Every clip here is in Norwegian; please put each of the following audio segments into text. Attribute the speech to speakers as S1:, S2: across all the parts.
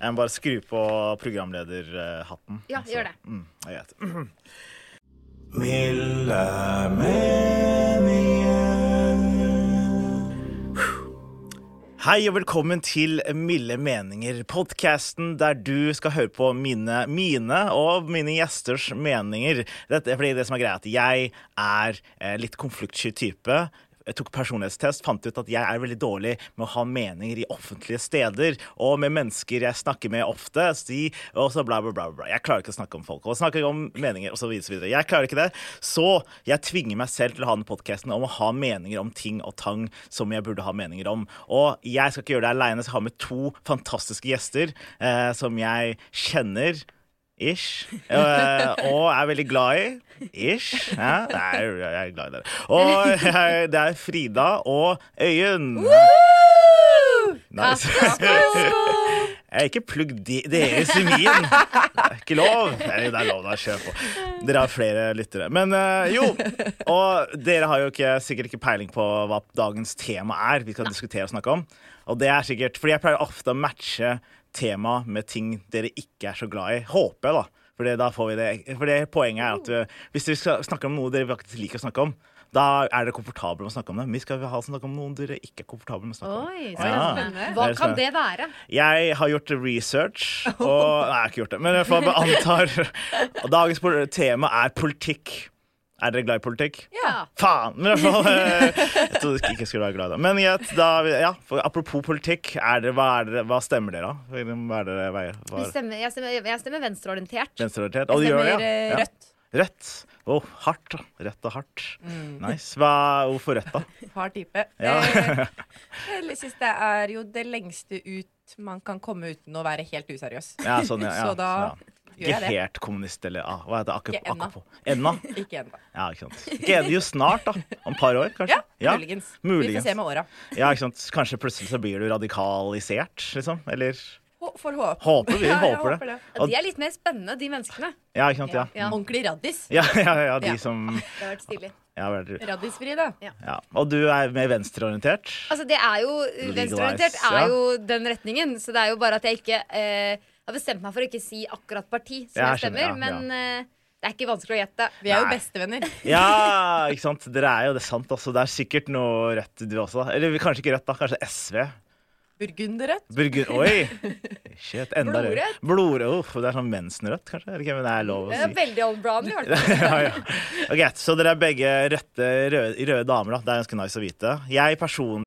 S1: Jeg må bare skru på programlederhatten.
S2: Ja, gjør det.
S1: Mm, det er greit.
S3: Milde meninger.
S1: Hei og velkommen til Milde meninger, podkasten der du skal høre på mine, mine og mine gjesters meninger. Dette er fordi det som er greia, er at jeg er eh, litt konfliktsky type. Jeg tok personlighetstest, fant ut at jeg er veldig dårlig med å ha meninger i offentlige steder og med mennesker jeg snakker med ofte. Si, og så bla, bla, bla, bla. Jeg klarer ikke å snakke om folk og snakke om meninger osv. Jeg klarer ikke det. Så jeg tvinger meg selv til å ha den podkasten om å ha meninger om ting og tang som jeg burde ha meninger om. Og jeg skal ikke gjøre det aleine, så jeg har med to fantastiske gjester eh, som jeg kjenner. Ish. Eh, og er veldig glad i. Ish. Ja, nei, jeg er glad i dere. Og jeg, det er Frida og Øyunn. Nice. Jeg er ikke plugg de- deres i min. Det er ikke lov. Eller det er lov, da. Kjør på. Dere har flere lyttere. Men eh, jo, og dere har jo ikke, sikkert ikke peiling på hva dagens tema er vi skal diskutere og snakke om. Og det er sikkert, fordi jeg pleier ofte å matche tema med ting dere ikke er så glad i. Håper jeg, da. For da får vi det. For det poenget er at eh, hvis vi skal snakke om noe dere faktisk liker å snakke om, da er dere komfortable med å snakke om det. Men vi skal ha snakke om noe dere ikke er komfortable med å snakke om.
S4: Oi, så
S1: Ja.
S4: spennende.
S2: Hva
S1: Det er
S2: kan det være?
S1: Jeg har gjort research
S4: Oh.
S1: og Nei, jeg har ikke gjort det, men jeg får bare antar Og dagens pol- tema er politikk. Er dere glad i politikk?
S2: Ja.
S1: Faen! Men i hvert fall eh, Jeg trodde ikke jeg skulle være glad i det. Men greit, da, ja, for apropos politikk, er det, hva, er det, hva stemmer dere, da? Hva er det hva er- hva
S2: Vi
S1: er
S2: stemmer, jeg, stemmer, jeg stemmer venstreorientert.
S1: venstreorientert? Og du gjør det, ja?
S4: eh,
S1: ja?
S4: rødt.
S1: Rødt. Oh, hardt. da. Rødt og hardt.
S4: Mm.
S1: Nice. Hva, hvorfor rødt, da?
S4: Hard type.
S1: Ja.
S4: Eh, jeg synes det er jo det lengste ut man kan komme uten å være helt useriøs.
S1: Ja, sånn, ja, ja,
S4: Så da
S1: Ikke
S4: gjør jeg det.
S1: helt kommunist eller ah, hva heter det?
S4: Ikke ennå.
S1: Akkurat Ennå?
S4: Ikke ennå.
S1: Ja, ikke sant. Ikke enig jo snart, da. Om et par år, kanskje.
S4: Ja, muligens. Vi
S1: muligens.
S4: får se med åra.
S1: Ja, ikke sant. Kanskje plutselig så blir du radikalisert, liksom. Eller
S4: Hå- Får håpe.
S1: Håper vi,
S4: Ja, jeg
S1: håper det.
S4: håper det.
S2: Ja, De er litt mer spennende, de menneskene.
S1: Ja, ikke sant. Ja.
S4: Ja. Ordentlig raddis.
S1: Ja, ja, ja, de
S4: Ja.
S1: som
S2: Det har vært stilig.
S1: ja, hva er det du-
S4: Raddisfri, da.
S1: ja. Og du er mer venstreorientert?
S2: Altså, det er jo Venstreorientert
S1: ja.
S2: er jo den retningen, så det er jo bare at jeg ikke eh, har bestemt meg for å ikke si akkurat parti
S1: Ja,
S2: som jeg
S1: jeg skjønner,
S2: stemmer,
S1: ja, ja.
S2: men eh, det er ikke vanskelig å gjette.
S4: Vi er jo
S1: Nei.
S4: bestevenner.
S1: Ja, ikke sant. Dere er jo det er sant, altså. Det er sikkert noe rødt, du også. da. Eller kanskje ikke rødt, da. Kanskje SV.
S4: Burgunderrødt.
S1: Burgund... Oi! Shit, enda rødere.
S2: Blodrødt.
S1: Blodrødt. Uff, det er sånn mensenrødt, kanskje? Eller ikke, men det er lov å
S2: Det
S1: si.
S2: er veldig old brown i hvert fall.
S1: ja, ja. Ok, Så dere er begge rødte, røde, røde damer, da. Det er ganske nice å vite. Jeg personlig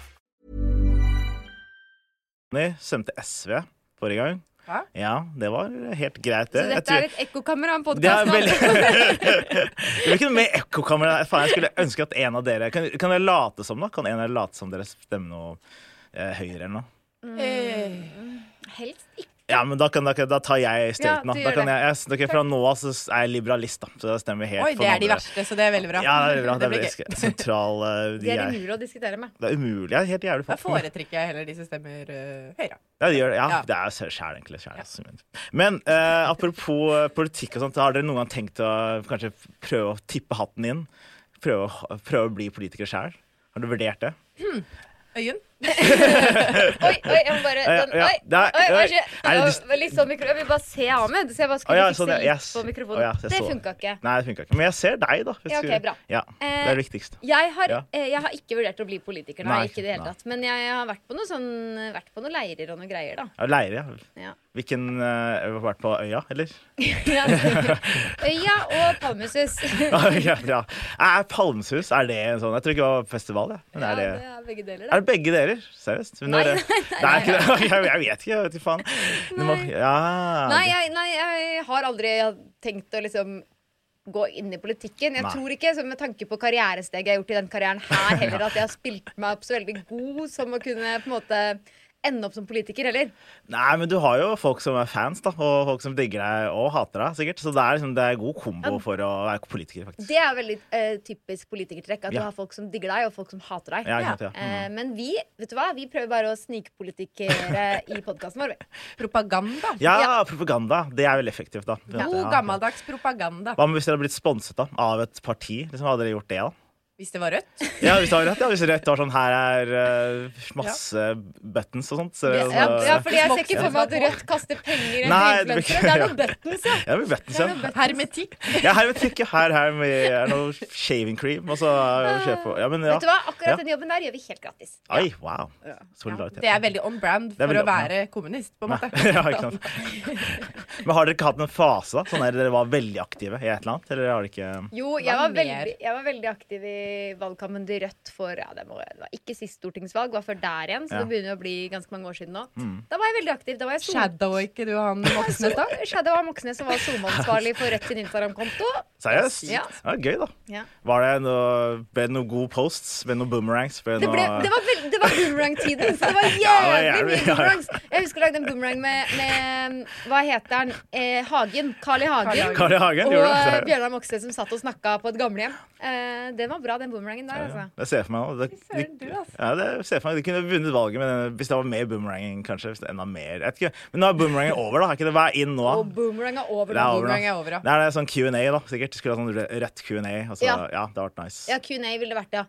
S1: stemte SV forrige gang.
S4: Hæ?
S1: Ja, det var helt greit, det.
S2: Så
S1: Jeg
S2: dette
S1: tror-
S2: er et ekkokamera av en
S1: det er
S2: podkast.
S1: veldig Det blir ikke noe mer ekkokamera. der. Faen, jeg skulle ønske at en av dere Kan, kan dere late som, da? Kan en av dere late som dere stemmer noe eh, høyre eller noe?
S4: Eh,
S2: Helst ikke.
S1: Ja, men da, kan, da, kan- da tar jeg
S2: Ja,
S1: støyten,
S2: du
S1: da. da
S2: gjør
S1: kan jeg, jeg, ok, fra nå av så er jeg liberalist, da. Så da stemmer jeg helt
S4: Oi,
S1: for
S4: det
S1: den
S4: er de
S1: andre.
S4: verste, så det er veldig bra.
S1: Ja, det er bra. Det
S4: blir
S1: blir
S4: gøy.
S1: sk- sentral eh, de
S2: Det er
S1: er-
S2: umulig å diskutere med.
S1: Det er umulig. Jeg er helt jævlig
S4: Da
S1: fucked.
S4: foretrekker jeg heller de som stemmer eh, Høyre.
S1: Ja, det gjør det. Ja,
S4: Ja.
S1: det er sjæl, egentlig. Skjær, altså. Men eh, apropos eh, politikk og sånt, har dere noen gang tenkt å kanskje prøve å tippe hatten inn? Prøve, å- prøve å bli politiker sjæl? Har du vurdert det?
S4: Øyunn?
S2: Oi, oi, jeg må bare
S1: Ja,
S2: den,
S1: ja.
S2: Oi,
S1: Nei,
S2: oi,
S1: oi.
S2: hva skjer?
S1: Er det
S2: Å,
S1: dis-
S2: var Litt sånn mikro... Jeg vil bare se Ahmed, så jeg bare
S1: Å,
S2: skulle
S1: ja,
S2: fikse
S1: sånn, ja,
S2: litt
S1: yes.
S2: på mikrofonen.
S1: Å, ja, jeg
S2: det
S1: så det.
S2: funka ikke.
S1: Nei, det funka ikke. Men jeg ser deg, da.
S2: Ja, ok, bra. Eh,
S1: Ja, det er det viktigste.
S2: Jeg har,
S1: Ja.
S2: eh, jeg har ikke vurdert å bli politiker, nei,
S1: Nei,
S2: ikke i det hele
S1: nei.
S2: tatt. Men jeg har vært på, noe sånn, vært på noen leirer og noen greier, da.
S1: Ja, Leire, ja.
S2: Ja.
S1: Hvilken eh, har du Vært på øya, eller?
S2: Ja, så- Øya og Palmesus.
S1: ja, bra. Er Palmsus er det en sånn Jeg tror ikke det var festival, jeg. Men
S2: Ja,
S1: er
S2: det
S1: det
S2: er begge deler, da.
S1: er det begge deler? Seriøst? Når,
S2: Nei,
S1: nei, nei, nei, Jeg, jeg vet ikke, jeg vet ikke faen. Det må- ja,
S2: Nei, jeg, nei, jeg har aldri tenkt å liksom gå inn i politikken. Jeg
S1: Nei.
S2: tror ikke, så med tanke på karrieresteget jeg har gjort i den karrieren her heller, at jeg har spilt meg opp så veldig god som å kunne på en måte ende opp som politiker heller.
S1: Nei, men du har jo folk som er fans, da, og folk som digger deg og hater deg, sikkert. Så det er, liksom, det er god kombo for å være politiker, faktisk.
S2: Det er veldig eh, typisk politikertrekk, at
S1: Ja.
S2: du har folk som digger deg, og folk som hater deg.
S1: Ja, ikke sant, ja. Mm.
S2: Eh, men vi vet du hva, vi prøver bare å snikpolitikere i podkasten vår. vi.
S4: Propaganda.
S1: Ja,
S2: ja.
S1: propaganda. Det er veldig effektivt, da. på en måte,
S4: God,
S1: ja.
S4: gammeldags propaganda.
S1: Hva med hvis dere hadde blitt sponset da, av et parti? Liksom, hadde dere gjort det, da?
S4: Hvis det var rødt.
S1: Ja, hvis det var rett, ja. Hvis rødt var sånn her er eh, masse buttons og sånt. Så,
S2: Ja,
S1: så,
S2: ja, fordi jeg ser
S4: Voksne
S2: ikke for meg at Rødt kaster penger
S1: Altså, Nei,
S2: etter
S1: det blir ikke-
S2: influensere. Det er noe buttons, ja.
S1: Ja, det blir buttons,
S2: Det er noe
S1: ja.
S2: buttons.
S4: Hermetikk.
S1: Ja, her vet ikke. Her, her med er det noe shaving cream, og så eh, kjøper på. Ja, men ja.
S2: Vet du hva, akkurat
S1: Ja.
S2: den jobben der gjør vi helt gratis.
S1: Oi, wow. Solidaritet.
S4: Det er veldig on
S1: er
S4: brand for
S1: veldig on
S4: å
S1: brand.
S4: være kommunist, på en måte.
S1: ja, ikke sant. Men har dere ikke hatt en fase da? Sånn der dere var veldig aktive i et eller annet? Eller har dere ikke
S2: Jo,
S4: Hva
S2: jeg var,
S4: mer?
S2: veldig, jeg var veldig aktiv i valgkampen til Rødt for ja, det, må, det var ikke sist stortingsvalg, det var før der igjen, så
S1: Ja. Mm.
S2: det begynner å bli ganske mange år siden nå. Da var jeg veldig aktiv. Da var jeg Sol-
S4: Shadower ikke du han Moxnes, da?
S2: Shadow av Moxnes, som var SoMe-ansvarlig for Rødt sin Instagram-konto.
S1: Seriøst?
S2: Ja.
S1: Det var gøy, da.
S2: Ja.
S1: Var det noe, ble det noen gode posts? Ble det noen boomerangs? Ble
S2: Det, ble,
S1: noe-
S2: det var, veld- det var boomerang-tiden, så det var
S1: Ja, det
S2: jævlig
S1: var
S2: mye
S1: jævlig, ja.
S2: boomerangs. Jeg husker jeg lagde en boomerang med, med Hva heter han? Eh, Hagen. Carl I. Hagen.
S1: Carl I. Hagen,
S2: og
S1: gjorde du?
S2: eh,
S1: Seriøst?
S2: Bjørnar Moxnes som satt og snakka på et gamlehjem. Eh, den var bra, den boomerangen der, altså.
S1: Det ser jeg for meg nå. Det,
S4: Søren, du, altså.
S1: ja, det ser jeg for meg. De kunne vunnet valget med den, hvis det var mer boomeranging, kanskje. Hvis det enda mer. Jeg vet ikke. Men nå er boomerangen over, da. Er ikke det hver inn nå? da?
S2: Og boomerang er over.
S1: Det er over,
S4: boomerang
S1: da.
S4: er over, ja.
S1: Det er det sånn Q&A, da. Sikkert. Skulle ha sånn rø- rødt Q&A. og så- altså. Ja.
S2: Ja.
S1: det har vært nice.
S2: Ja, Q&A ville det vært, ja.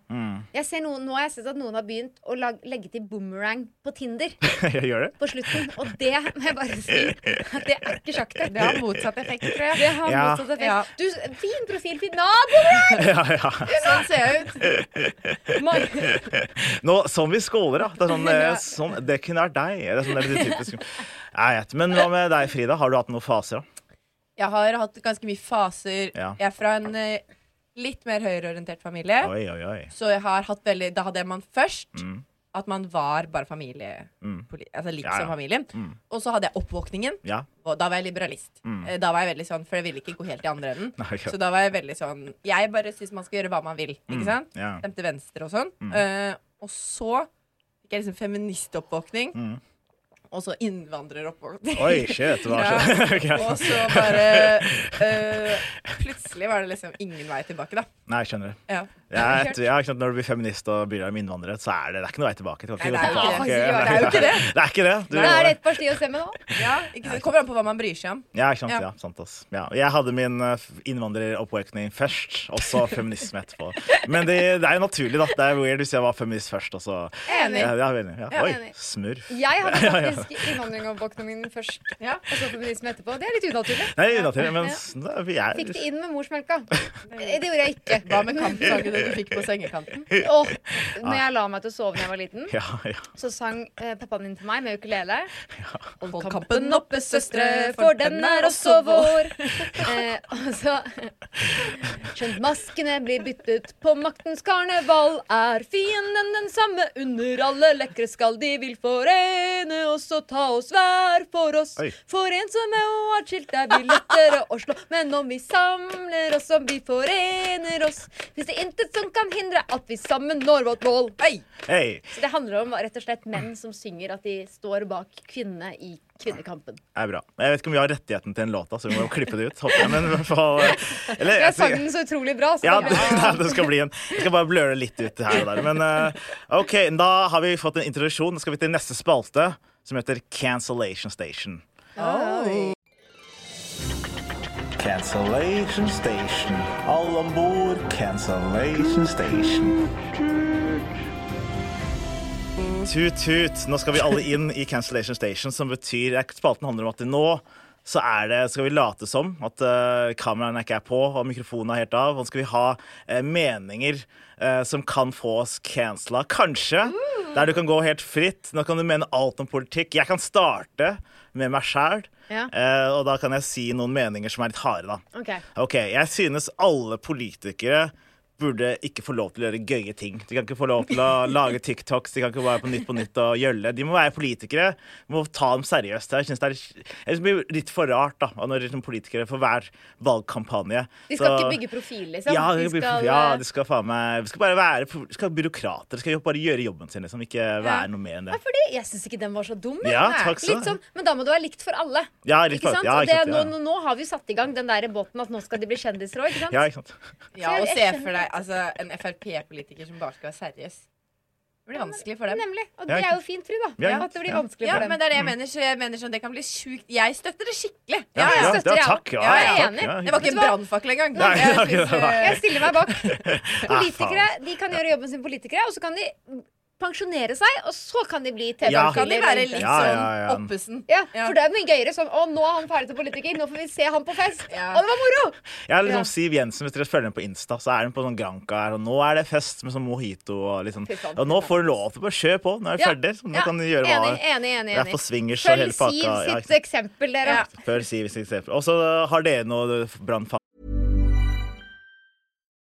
S2: Jeg ser noen, nå har jeg sett at noen har begynt å lag, legge til boomerang på Tinder
S1: Jeg gjør det?
S2: på slutten. Og det må jeg bare si at det er ikke sjakk,
S4: Det har motsatt effekt, tror jeg.
S2: Det har
S1: Ja.
S2: motsatt effekt.
S4: Ja.
S2: Du, fin profil, fin Nå, boomerang!
S1: Ja, ja.
S4: Sånn ser jeg ut.
S2: Mar-
S1: Nå, som vi skåler, da. Det, er sånn, eh,
S2: Ja.
S1: sånn, det kunne vært deg. Det er sånn, det blir typisk. Jeg vet. Men hva med deg, Frida? Har du hatt noen faser? da?
S4: Jeg har hatt ganske mye faser.
S1: Ja.
S4: Jeg er fra en eh, litt mer høyreorientert familie.
S1: Oi, oi, oi.
S4: Så jeg har hatt veldig Da hadde man først at man var bare familie. poli- Altså litt
S1: Mm. Ja, ja. Mm.
S4: som familien. Og så hadde jeg oppvåkningen.
S1: Ja.
S4: Og da var jeg liberalist.
S2: Mm.
S4: Eh, Da var jeg veldig sånn, For jeg ville ikke gå helt i andre enden.
S1: Nei, ok.
S4: Så da var jeg veldig sånn Jeg bare syns man skal gjøre hva man vil.
S2: Mm,
S4: Ikke sant?
S1: ja.
S4: Stemte venstre og sånn. Eh, og så fikk jeg liksom feministoppvåkning.
S2: Mm.
S4: Og så innvandreroppvåkning.
S1: Oi, shit. Det var
S4: Ja.
S1: så
S4: Og
S1: Ok.
S4: så bare eh, Plutselig var det liksom ingen vei tilbake, da.
S1: Nei, jeg skjønner det.
S4: Ja.
S1: Jeg, vet- ja, ikke sant, når du blir feminist og blir med innvandrere, så er det, det er ikke noe vei tilbake. Du kan
S4: Nei, det
S1: gå
S4: er jo
S1: tilbake.
S4: ikke det. Det er jo ikke det.
S1: Det er ikke det. Du,
S2: Da er det ett parti å stemme nå.
S4: Ja, ikke sant? Det kommer an på hva man bryr seg om.
S1: ja, ikke sant,
S4: Ja.
S1: ja, sant ass. Ja. Jeg hadde min eh, innvandreroppvåkning først, og så feminisme etterpå. Men det, det er jo naturlig, da. Det er weird hvis jeg var feminist først, og så
S2: Enig.
S1: Ja, ja, enig, ja.
S2: Ja,
S1: Oi,
S2: enig.
S1: smurf.
S2: Jeg hadde faktisk innvandring og oppvåkningen først,
S4: Ja.
S2: og så feminisme etterpå. Det er litt unaturlig.
S1: Nei, unaturlig, men s- da, vi er
S2: Fikk det inn med morsmelka. Det gjorde jeg ikke.
S4: Hva med kampsaken du fikk på sengekanten?
S2: Åh, når jeg la meg til å sove da jeg var liten,
S1: Ja, ja.
S2: så sang eh, pappaen din til meg med ukulele.
S4: Hold
S2: Kampen oppe, søstre, for den er også vår. Eh, og så Skjønt maskene blir byttet på maktens karneval, er fienden den samme under alle lekre skall. De vil forene oss og ta oss hver for oss.
S1: Oi.
S2: For ensomme og atskilt er vi lettere å slå. Men om vi samler oss, om vi forener oss, fins det intet som kan hindre at vi sammen når vårt mål.
S4: Oi!
S1: Hei.
S2: Så det handler om rett og slett menn som synger at de står bak kvinnene i kvinnekampen.
S1: Det er bra. Jeg vet ikke om vi har rettigheten til en låt, da, så vi må klippe det ut. Håper jeg, men i hvert fall eh, eller,
S2: Jeg sang den så utrolig bra. Så
S1: Ja,
S2: det
S1: det,
S2: ble-
S1: nei, det skal bli en Jeg skal bare bløre litt ut her og der. Men eh, OK, da har vi fått en introduksjon. Nå skal vi til neste spalte, som heter Cancellation Station. Cancellation Station. Alle om bord, Cancellation Station. Tut, tut. Nå skal vi alle inn i Cancellation Station, som betyr Spalten handler om at nå så er det, skal vi late som at uh, kameraene ikke er på og mikrofonen er helt av. Og så skal vi ha eh, meninger eh, som kan få oss cancela, kanskje. Der du kan gå helt fritt. Nå kan du mene alt om politikk. Jeg kan starte med meg sjæl,
S2: Ja.
S1: og da kan jeg si noen meninger som er litt harde, da.
S2: OK.
S1: Ok, jeg synes alle politikere burde ikke få lov til å gjøre gøye ting. De kan ikke få lov til å lage TikToks, de kan ikke være på Nytt på Nytt og gjølle. De må være politikere, de må ta dem seriøst. Jeg synes det, er, jeg synes det blir litt for rart da, når liksom politikere for hver valgkampanje.
S2: De skal
S1: så-
S2: ikke bygge profil, liksom?
S1: ja, de
S2: de skal,
S1: ja,
S2: eh,
S1: de skal faen meg De skal bare være de skal være byråkrater. De skal jo bare gjøre jobben sin, liksom. Ikke være noe mer enn
S2: Ja,
S1: det.
S2: fordi jeg syns ikke den var så dum. jeg.
S1: Ja,
S2: Nei.
S1: takk skal du
S2: litt
S1: ha.
S2: sånn, men da må det være likt for alle.
S1: Ja, litt for-
S2: ikke sant?
S1: ja,
S2: Og det,
S1: ikke sant, ja.
S2: nå, nå, nå har vi jo satt i gang den der båten at nå skal de bli kjendiser òg, ikke sant?
S1: Ja, ikke sant?
S4: Ja, og
S2: jeg
S4: se
S2: skjønner
S4: for deg altså, en Frp-politiker som bare skal være seriøs. Det blir vanskelig for dem.
S2: Nemlig. Og
S1: Ja,
S2: det
S1: ikke
S2: er jo fint, Frida.
S1: Ja, ikke
S2: at det blir
S1: sant.
S2: vanskelig
S4: Ja,
S2: for dem.
S4: men det er det jeg mener. Så jeg mener sånn, det kan bli sjukt. Jeg støtter det skikkelig.
S1: Mm. Ja,
S2: jeg
S1: ja,
S2: støtter
S1: ja,
S2: jeg også.
S1: takk. Ja,
S2: Ja, jeg
S1: ja,
S2: er
S1: takk,
S2: enig.
S1: ja.
S4: Det var ikke en brannfakkel engang.
S1: Nei,
S4: Jeg
S1: det var ikke
S4: synes, eh,
S1: det, nei.
S2: Jeg stiller meg bak. Politikere
S1: faen.
S2: de kan gjøre jobben sin politikere, og så kan de pensjonere seg, og så kan de bli
S1: Ja.
S4: eh, Kan de
S2: TV-ankaller.
S4: være litt
S1: Ja, ja, ja.
S4: sånn oppesen?
S2: Ja,
S4: Ja.
S2: for det er mye gøyere sånn Å, nå er han ferdig som politiker, nå får vi se han på fest.
S4: Ja.
S2: Å, det var moro!
S1: Jeg er liksom
S2: Ja.
S1: Siv Jensen, hvis dere følger henne på Insta, så er hun på sånn Granca her, og nå er det fest med sånn mojito og litt sånn.
S2: Fy faen.
S1: Og nå får du lov til å bare kjøre på, nå er du
S2: Ja.
S1: ferdig. Så nå
S2: Ja.
S1: kan du gjøre hva
S2: Enig, enig, enig.
S1: Det er
S2: enig.
S1: på swingers og
S2: Følg
S1: hele
S2: Siv
S1: pakka. Ja, ikke
S2: sitt
S1: sant?
S2: eksempel, dere.
S4: Ja.
S1: Følg Siv sitt eksempel. Og så eh, har dere noe brannfakkel.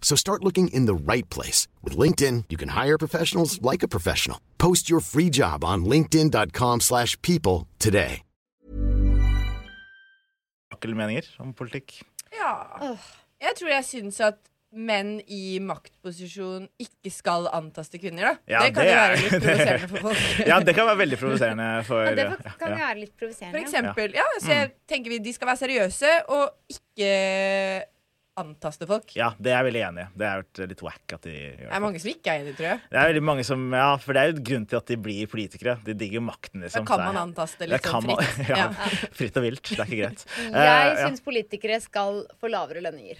S5: So start looking in the right place. With LinkedIn, you can hire professionals like a professional. Post your free job on linkedin.com/people slash people today.
S1: meninger om politikk.
S4: Ja. Jeg tror jeg syns at menn i maktposisjon ikke skal antaste kvinner, da.
S1: Ja,
S4: det kan
S1: det
S4: jo
S1: er-
S4: være litt provoserende for folk.
S1: Ja, det kan være veldig provoserende for
S2: Ja, det
S1: ja,
S2: faktisk kan
S1: ja.
S2: være litt
S4: For
S2: provoserende.
S4: eksempel. Ja,
S1: Mm.
S4: så jeg tenker vi de skal være seriøse og ikke antaste folk.
S1: ja, det er jeg veldig enig i. Det er jo litt wack at de gjør
S4: Det er
S1: det.
S4: mange som ikke er enig, tror jeg.
S1: Det er veldig mange som, ja, for det er jo et grunn til at de blir politikere. De digger makten, liksom.
S4: Da kan
S1: Så det er-
S4: man antaste
S1: Det
S4: litt
S1: kan
S4: sånn
S1: man-
S4: fritt.
S1: Ja,
S4: Ja.
S1: fritt og vilt. Det er ikke greit.
S2: Jeg
S1: Eh, ja.
S2: syns politikere skal få lavere lønninger.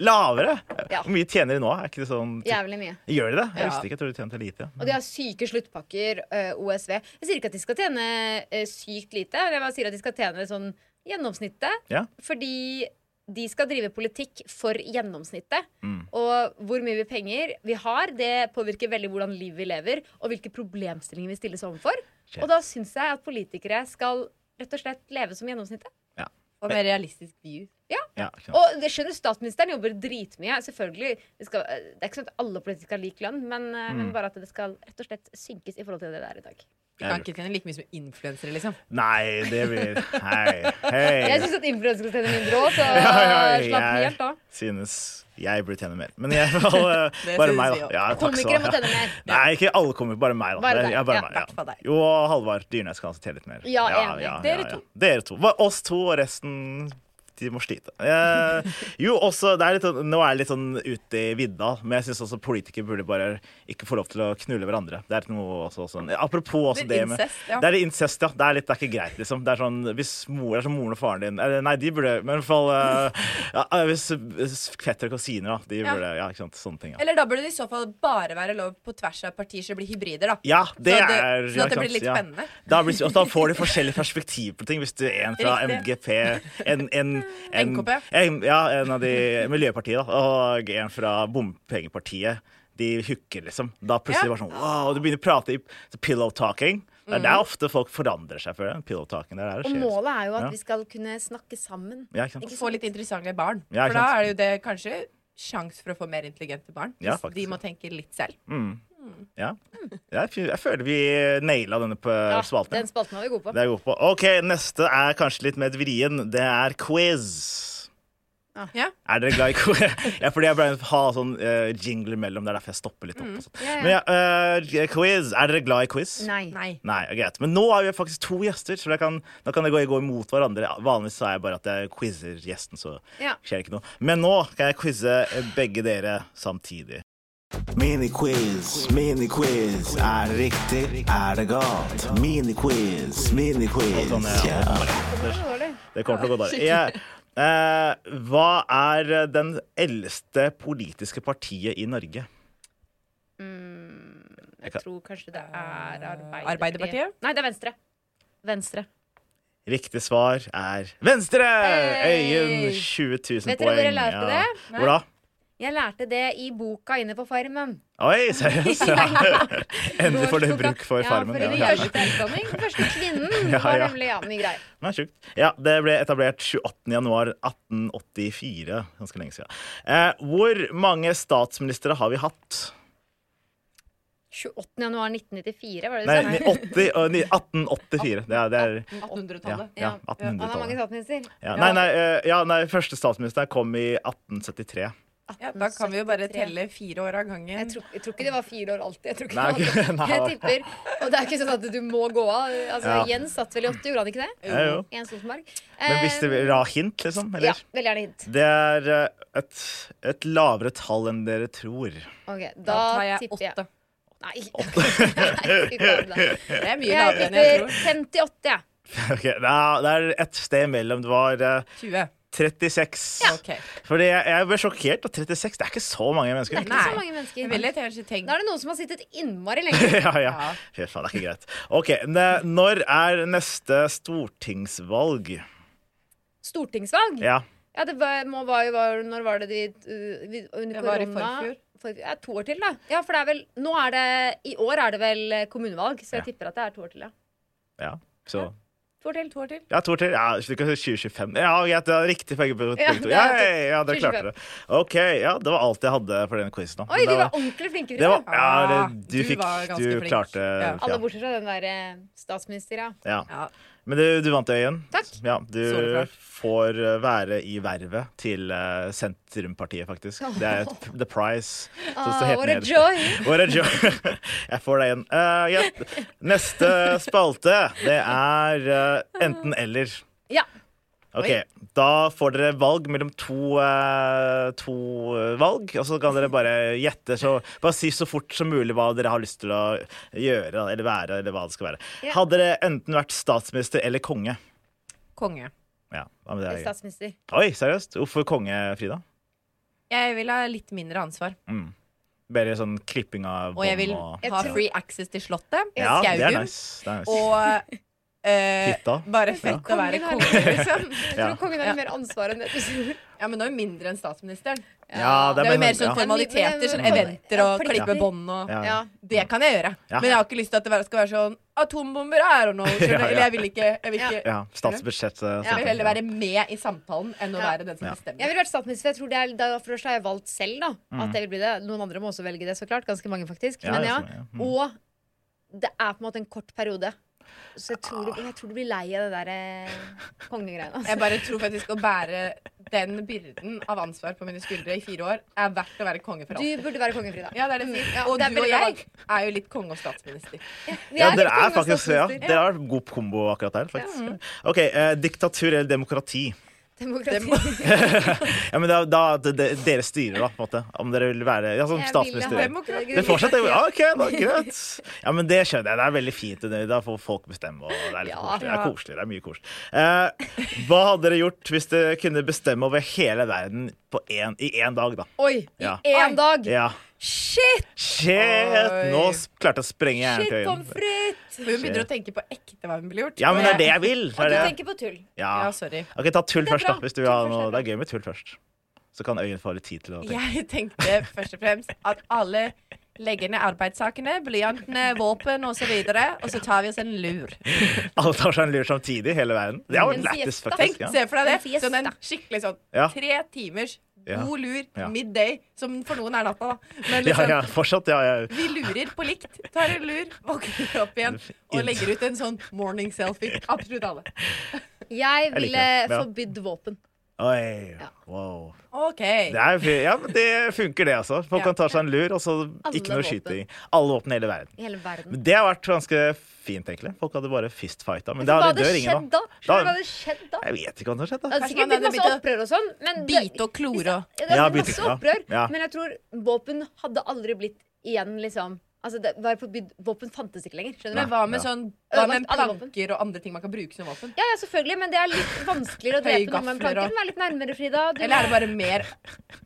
S1: Lavere?
S2: Ja.
S1: Hvor mye tjener de nå? Er ikke det sånn
S2: Jævlig mye.
S1: Gjør de det? Jeg
S4: Ja.
S1: visste ikke. Jeg tror de tjente lite.
S2: Og de har syke sluttpakker, eh, OSV. Jeg sier ikke at de skal tjene eh, sykt lite, men jeg bare sier at de skal tjene sånn gjennomsnittet.
S1: Ja.
S2: Fordi de skal drive politikk for gjennomsnittet.
S1: Mm.
S2: Og hvor mye vi penger vi har, det påvirker veldig hvordan liv vi lever, og hvilke problemstillinger vi stilles overfor.
S1: Shit.
S2: Og da syns jeg at politikere skal rett og slett leve som gjennomsnittet.
S4: Og mer realistisk view.
S1: Ja, ikke sant.
S2: Og det skjønner statsministeren jobber dritmye. Selvfølgelig, det, skal, det er ikke sånn at alle politikere har lik lønn, men, eh, men
S1: Mm.
S2: bare at det skal rett og slett synkes i forhold til det det er i dag.
S4: Vi kan ikke tjene like mye som influensere, liksom.
S1: Nei, det blir Hei. hei.
S2: Jeg syns at influensere skal tjene mindre òg, så Eh, slapp helt av.
S1: synes jeg burde tjene mer. Men jeg bare,
S4: Det
S1: eh, bare
S4: synes
S1: meg,
S4: vi
S1: da.
S4: også.
S1: Ja, takk skal du
S2: Komikere må
S1: ha.
S2: tjene mer.
S1: Nei, ikke alle komikere, bare meg, da.
S2: Bare deg.
S1: Jeg er bare
S2: Ja,
S1: meg, ja.
S4: takk for deg.
S1: Jo, og Halvard Dyrnes kan også tjene litt mer.
S2: Ja, enig.
S4: Dere to.
S1: Dere to. Bare oss to og resten de må slite. Eh, jo, også, det er litt, sånn- nå er jeg litt sånn ute i vidda, men jeg syns også politikere burde bare ikke få lov til å knulle hverandre. Det er noe også, sånn- Apropos også
S4: Litt
S1: det med
S4: incest, ja.
S1: Det er litt incest, ja. Det er, litt, det er ikke greit, liksom. Det er sånn, Hvis mor er som moren og faren din eller, Nei, de burde Men i hvert fall eh, ja, Hvis hvis fetter og kusiner, da. De
S4: Ja.
S1: burde, ja. ikke sant. Sånne ting. Ja,
S4: Eller da burde det i så fall bare være lov på tvers av partier, så det blir hybrider, da.
S1: ja det
S4: sånn at
S1: er
S4: det- sånn
S1: ja,
S4: at det
S1: ikke
S4: blir
S1: sant,
S4: litt
S1: ja.
S4: spennende.
S1: Da, blir, og da får du forskjellige perspektiv på ting. Hvis du er en fra
S4: Riktig.
S1: MGP en, en, en,
S4: NKP.
S1: en, Ja, en av de Miljøpartiet, da. Og en fra bompengepartiet. de hooker, liksom. Da plutselig bare sånn wow, og Du begynner å prate i så pillow talking.
S4: Mm.
S1: Det er der ofte folk forandrer seg. Før, pillow talking, det er der det
S2: Og
S1: skjer.
S2: målet er jo at
S1: Ja.
S2: vi skal kunne snakke sammen.
S1: Ja, ikke sant?
S4: Få litt interessante barn.
S1: Ja, ikke
S4: for da
S1: sant?
S4: er det jo det kanskje sjans for å få mer intelligente barn.
S1: Ja,
S4: Hvis
S1: faktisk.
S4: de må tenke litt selv.
S1: Ja. Jeg, fy- jeg føler vi naila denne på
S2: Ja,
S1: spalten.
S2: Ah, den spalten var vi gode på.
S1: Det er jeg god på. OK, neste er kanskje litt mer vrien. Det er quiz.
S4: Ja.
S1: Er dere glad i quiz? ja, fordi jeg pleier å ha sånn eh, jingle imellom. Det er derfor jeg stopper litt opp. og sånn.
S2: Mm. ja.
S1: Men ja, eh, quiz. Er dere glad i quiz?
S2: Nei.
S4: Nei.
S1: Nei, ja, greit. Men nå har vi faktisk to gjester, så da kan, da kan det gå, gå imot hverandre. Vanligvis så er jeg bare at jeg quizer gjesten, så
S2: Ja.
S1: skjer det ikke noe. Men nå kan jeg quize begge dere samtidig.
S3: Miniquiz, miniquiz. Er det riktig? Er det galt? Miniquiz, miniquiz.
S1: Sånn, ja.
S3: Ja.
S1: Det kommer til å gå dårlig. Jeg- eh, hva er den eldste politiske partiet i Norge?
S2: Jeg tror kanskje det er Arbeiderpartiet.
S4: Arbeiderpartiet?
S2: Nei, det er Venstre. Venstre.
S1: Riktig svar er Venstre! Øyunn, 20 000
S2: Vet dere
S1: poeng.
S2: hvor jeg lærte
S1: ja.
S2: det? Nei.
S1: Hvor da?
S2: Jeg lærte det i boka inne på Farmen.
S1: Oi, seriøst? Ja. Endelig får du bruk for farmen.
S2: Ja, for
S1: ja.
S2: den første utdanning, den første kvinnen,
S1: Ja,
S2: var
S1: ja.
S2: nemlig ja, mye greier.
S1: Det er sjukt. Ja, det ble etablert 28.1.1884. Ganske lenge siden. Eh, hvor mange statsministre har vi hatt?
S2: 28. januar 1994, var det
S1: Nei,
S2: det du sa?
S1: 80, og ni- 1884. Det er, det er
S4: 1800-tallet.
S1: Ja,
S2: Ja. Han har mange
S1: 1800-tallet.
S2: statsminister.
S1: Ja. Nei, nei, eh, ja, nei, første statsminister kom i 1873.
S4: Ja. da kan vi jo bare telle fire år av gangen.
S2: Jeg tror, jeg tror ikke det var fire år alltid. Jeg tror ikke
S1: Nei,
S2: det var
S1: ok. Nei,
S2: Jeg
S1: da.
S2: tipper. Og det er ikke sånn at du må gå av. Altså,
S1: Ja.
S2: Jens satt vel i åtte, gjorde han ikke det?
S1: Ja, jo.
S2: Jens Stoltenberg. Eh,
S1: Men hvis det vil ha hint, liksom?
S2: Ja,
S1: Eller?
S2: veldig gjerne hint.
S1: Det er eh, et, et lavere tall enn dere tror.
S2: Ok, da,
S4: Da tar jeg
S2: tipper jeg
S4: åtte.
S2: Nei, fy faen, da.
S4: Det er mye
S2: jeg
S4: lavere enn jeg
S2: tipper
S4: tror.
S2: 58, jeg.
S1: Ok, da- det er et sted imellom. Det var eh,
S4: 20.
S1: 36.
S4: Ok.
S1: Fordi jeg, jeg ble sjokkert. Og 36, det er ikke så mange mennesker.
S2: Det er ikke
S4: Nei.
S2: så mange
S4: Jeg ville
S2: mennesker.
S4: kanskje tenkt
S2: Da er det noen som har sittet innmari lenge.
S1: ja, ja. Fy faen, det er ikke greit. Ok, ne- Når er neste stortingsvalg?
S2: Stortingsvalg?
S1: Ja,
S2: Ja, det var, må, var, jo- var, når var det de uh, vi- Under
S4: Det var i
S2: korona?
S4: forfjor.
S2: For, ja, to år til, da. Ja, for det er vel Nå er det I år er det vel eh, kommunevalg, så jeg
S1: Ja.
S2: tipper at det er to år til, ja.
S1: ja. Så
S2: To år til.
S4: to år til.
S1: Ja, to år til. Ja, så du kan si 2025. Ja, greit, det er riktig begge begge
S2: Ja,
S1: to.
S2: det er
S1: Ja,
S2: riktig.
S1: ja, ja, dere klarte det. OK, ja, det var alt jeg hadde for denne quizen. da. Men
S2: Oi, de
S1: det
S2: var ordentlig flinke.
S1: det var,
S2: Frida.
S1: ja, det, du,
S4: Du
S1: fikk
S4: var ganske
S1: Du
S4: flink.
S1: klarte
S4: Ja.
S2: Alle
S1: ja.
S2: bortsett fra den der eh, statsminister, ja.
S1: Ja.
S4: Ja.
S1: Men du, du vant, Øyen.
S2: Takk.
S1: Ja, du
S4: Soleklart.
S1: får eh, være i vervet til eh, Sentrumpartiet, faktisk. Det er et, the prize. som
S2: Ah,
S1: står helt
S2: what a
S1: nederst.
S2: joy.
S1: What a joy. Jeg får deg igjen. Eh, ja. Neste spalte, det er eh, enten-eller.
S2: Ja.
S1: Ok, Da får dere valg mellom to, eh, to eh, valg, og så kan dere bare gjette. Så, bare si så fort som mulig hva dere har lyst til å gjøre da, eller være. eller hva det skal være.
S2: Ja.
S1: Hadde dere enten vært statsminister eller konge?
S4: Konge.
S1: Ja, hva med det? Øyvind?
S2: Statsminister.
S1: Oi, seriøst? Hvorfor konge, Frida?
S4: Jeg vil ha litt mindre ansvar.
S1: Bare sånn klipping av
S4: Og jeg vil
S1: bånd og
S4: ha free access til Slottet.
S1: Ja, det er
S4: Skaugum.
S1: nice. Det er nice.
S4: Og eh,
S1: Hytta.
S4: bare fett
S2: Ja.
S4: å være
S2: Kongen har-
S4: konge, liksom.
S2: Jeg
S1: Ja.
S2: tror kongen har mer ansvar enn det du sier.
S4: Ja, men nå er det mindre enn statsministeren.
S1: Ja,
S4: Det er
S1: bare
S4: jo mer sånn
S1: ja.
S4: formaliteter, sånn
S2: Men- men-
S4: eventer og
S2: Ja,
S4: klippe
S2: plikter.
S4: bånd og
S1: Ja.
S2: Ja.
S4: Det kan jeg gjøre.
S1: Ja.
S4: Men jeg har ikke lyst til at det være- skal være sånn atombomber er og noe.
S1: Ja, ja.
S4: Eller jeg vil ikke. Jeg vil, ikke,
S1: ja, statsbudsjettet.
S4: jeg vil heller
S1: sånn.
S4: være med i samtalen enn å
S2: Ja.
S4: være den som
S1: Ja.
S2: Jeg
S4: bestemmer.
S2: ville vært statsminister, for jeg tror det er, da, for først har jeg valgt selv da, at jeg vil bli det. Noen andre må også velge det, så klart. Ganske mange, faktisk.
S1: Mm. Ja,
S2: Men
S1: det
S2: ja.
S1: stemmer, ja. Mm.
S2: Og det er på en måte en kort periode. Så jeg tror, du- jeg tror du blir lei av det der eh, kongegreiene. Altså.
S4: Jeg bare tror faktisk å bære den byrden av ansvar på mine skuldre i fire år er verdt å være konge for
S2: Du
S4: alltid.
S2: burde være konge, Frida.
S4: Ja, det er det jeg sier.
S2: Ja,
S4: Og
S2: det er
S4: du og
S2: veldig bra
S4: jeg er jo litt konge og statsminister.
S2: Vi
S1: Ja, dere
S2: konge
S1: er
S2: og
S1: faktisk ja,
S2: statsminister.
S1: Dere har god kombo akkurat der, faktisk. OK, eh, diktatur eller demokrati?
S2: Demokrati.
S1: Ja, men da, da det, det, Dere styrer, da, på en måte. Om dere vil være ja, som
S2: Jeg
S1: statsminister.
S2: vil ha
S1: Det er fortsatt ja, OK, da, greit. Ja, men det skjønner jeg. Det er veldig fint. det- Da får folk bestemme. Og det er litt
S2: Ja.
S1: koselig. Det er koselig. Det er mye koselig. Eh, hva hadde dere gjort hvis dere kunne bestemme over hele verden på en, i én dag, da?
S2: Oi, i
S1: Ja.
S2: én dag!
S1: Ja.
S2: Shit!
S1: Shit! Nå s- klarte jeg å sprenge
S2: Shit,
S1: jernkøyen.
S2: pommes frites!
S4: For hun begynner å tenke på ekte hva hun ville gjort.
S1: Ja, men det er
S4: Og
S1: det jeg
S4: jeg-
S1: vil. Det
S2: Og
S1: er
S2: du
S1: det.
S2: tenker på tull.
S1: Ja.
S4: Ja, sorry.
S1: OK, ta tull
S2: Det er
S1: først, da.
S2: bra.
S1: Hvis du
S2: Tull
S1: vil ha
S2: først er
S1: noe.
S2: bra.
S1: Det er gøy med tull først. så kan Øyunn få litt tid til å tenke.
S4: Jeg tenkte først og fremst at alle legger ned arbeidssakene, blyantene, våpen osv., og, så videre, og så tar vi oss en lur.
S1: Alle tar seg en lur samtidig i hele verden. Det er jo
S2: En
S1: lættis,
S2: siesta.
S1: faktisk.
S4: Tenk,
S1: Ja.
S4: Se for
S2: En
S4: deg det.
S2: fiesta.
S4: Sånn en skikkelig sånn
S1: Ja.
S4: tre timers
S1: Ja.
S4: god lur,
S1: Ja.
S4: midday, som for noen er natta, da. Men
S1: Ja,
S4: liksom,
S1: ja, fortsatt. Ja, ja.
S4: vi lurer på likt, tar en lur, våkner opp igjen og legger ut en sånn morning selfie. Absolutt alle.
S2: Jeg
S1: liker
S2: ville
S1: det. Ja.
S2: forbydd våpen.
S1: Oi, wow.
S4: OK.
S1: Det, er, fi- ja, men det funker, det, altså. Folk
S4: Ja.
S1: kan ta seg en lur, og så ikke
S2: Alle
S1: noe
S2: våpen.
S1: skyting. Alle våpen i hele verden.
S2: I hele verden.
S1: Men Det har vært ganske fint, egentlig. Folk hadde bare fistfighta. Men det,
S2: Hva
S1: hadde-
S2: hadde
S1: dør ingen
S2: skjedd
S1: nå.
S2: da? Hva
S1: Da-
S2: hadde skjedd da?
S1: Jeg vet ikke hva som har skjedd, da.
S2: Det hadde
S4: Kanskje
S2: Altså, sikkert
S4: man
S2: blitt
S4: hadde
S2: masse
S4: begynt å
S2: opprør og sånn. Men det-
S4: Bite og klore og
S2: Ja, det
S1: Ja,
S2: hadde blitt
S1: bite,
S2: masse
S1: ja.
S2: opprør.
S1: Ja.
S2: Men jeg tror våpen hadde aldri blitt igjen, liksom. Altså, det var forbydd. Våpen fantes ikke lenger. Skjønner
S4: Men
S2: du?
S4: hva med
S1: Ja.
S4: sånn hva med
S2: Ødelagt alle våpen.
S4: planker og andre ting man kan bruke som våpen?
S2: Ja, ja, selvfølgelig, men det er litt vanskeligere å
S4: Høye
S2: drepe noe med en
S4: gafler
S2: planke.
S4: og-
S2: Den er litt nærmere, Frida. Du
S4: Eller er det bare mer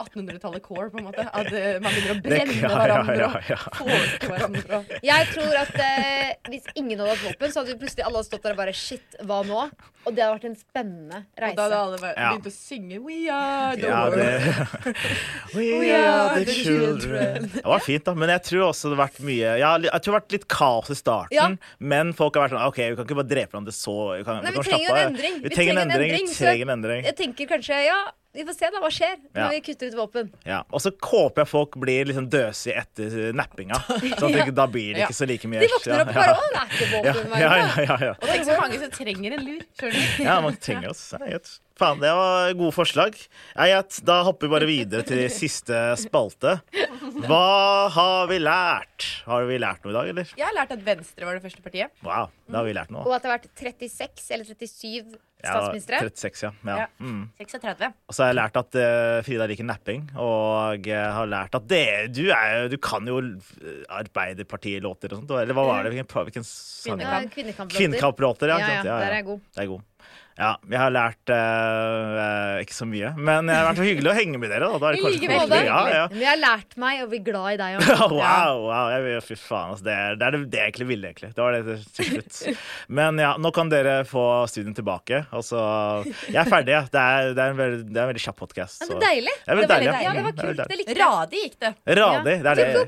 S4: 1800-tallet core, på en måte? At eh, man begynner
S1: Det-
S4: å brenne
S1: ja, ja,
S4: hverandre
S1: ja, ja.
S4: og påske hverandre og
S2: Jeg tror at eh, Hvis ingen hadde hatt våpen, så hadde vi plutselig alle stått der og bare Shit, hva nå? Og det hadde vært en spennende
S4: Og da
S2: reise.
S4: hadde alle bare
S1: Ja.
S4: begynt å synge We are the
S1: Ja,
S4: world.
S1: det
S2: Oh,
S1: We are the children. Det var fint, da. Men jeg tror også det har vært mye ja, li- Jeg tror det har vært litt kaos i starten.
S2: Ja.
S1: Men folk har vært sånn OK, vi kan ikke bare drepe hverandre så vi kan,
S2: Nei,
S1: vi
S2: vi
S1: kan
S2: trenger jo
S1: slappe
S2: en
S1: av.
S2: endring.
S1: Vi trenger en endring. Vi
S2: så
S1: trenger en endring.
S2: Jeg tenker kanskje Ja, vi får se da hva skjer når
S1: Ja.
S2: vi kutter ut våpen.
S1: Ja. Og så håper jeg folk blir liksom døsige etter eh, nappinga. Sånn at det- da blir det
S4: Ja.
S1: ikke så like mye
S2: De våkner opp og bare Å, det er ikke
S1: ja,
S2: våpen.
S1: ja,
S2: Ja,
S1: ja, ja, ja.
S4: Og tenk så mange som trenger en lur. Skjønner du?
S1: ja, man trenger oss. Ja, greit. Faen, det var gode forslag. Nei, greit, da hopper vi bare videre til siste spalte. Hva har vi lært? Har vi lært noe i dag, eller?
S4: Jeg har lært at Venstre var det første partiet.
S1: Wow, da har vi lært noe.
S2: Og at det har vært 36 eller 37
S1: Ja,
S2: statsministre.
S1: 36, ja. ja.
S4: Ja.
S1: Mm.
S4: 36.
S1: Og så har jeg lært at eh, Frida liker napping, og jeg har lært at det, du, er, jo- du kan jo eh, Arbeiderpartilåter og sånt. Eller hva var det? Hvilken, hvilken sang?
S2: Ja, kvinnekamplåter.
S1: Kvinnekamplåter, ja.
S2: Ja,
S1: ikke sant?
S2: ja, der er jeg god.
S1: Det er god. Ja, jeg har lært eh, eh, ikke så mye, men det har vært hyggelig å henge med dere. Da. Da er det
S4: I
S1: kanskje
S4: like
S1: koselig.
S4: måte.
S1: Ja, ja.
S2: Men jeg har lært meg å bli glad i deg òg.
S1: Ja, wow, wow. Jeg, fy faen, altså. Det er det, er det, det jeg egentlig ville, egentlig. Det var det til slutt. Men ja, nå kan dere få studien tilbake. Altså, jeg er ferdig, ja. Det er, det er, en, veldig, det er en veldig kjapp podkast.
S2: Ja, men deilig.
S1: Det er veldig altså. deilig.
S2: Ja, det
S1: Mm,
S2: var kult.
S1: veldig
S2: Det likte jeg.
S4: Radig gikk det.
S1: deilig. Radig. Det er det,
S2: Ja.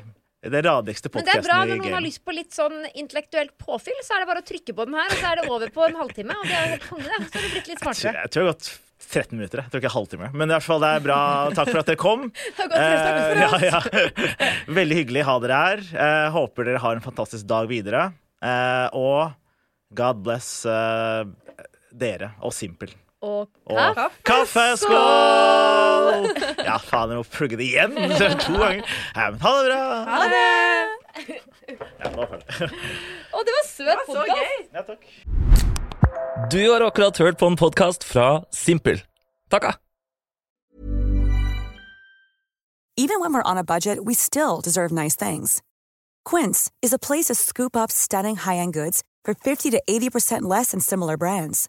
S1: det, er det radigste
S2: Men det er
S1: podkasten
S2: bra
S1: i
S2: når noen har
S1: gamet.
S2: lyst på litt sånn intellektuelt påfyll, så er det bare å trykke på den her, og så er det over på en halvtime. Og det er jo helt konge, det. Så har du blitt litt
S1: Jeg
S2: smartere.
S1: tror det har gått 13 minutter. Jeg tror ikke halvtime. Men i hvert fall, det er bra. Takk for at dere kom.
S2: Det har gått resten av
S1: Eh,
S2: uka.
S1: ja, ja. Veldig hyggelig å ha dere her. Eh, håper dere har en fantastisk dag videre. Eh, og God bless eh, dere og Simpel.
S2: Og
S1: Og kaffeskål! Ja, faen, jeg må plugge det igjen to ganger. Ja, men ha det bra!
S4: Ha det!
S1: Ja, nå får jeg det.
S2: Å, det var søt
S4: Så
S2: podkast!
S4: gøy!
S1: Ja, takk.
S6: Du har akkurat hørt på en podkast fra Simpel. Takka!
S7: Even when we're on a budget, we still deserve nice things. Quince is a place to scoop up stunning high-end goods for 50 to 80% less than similar brands.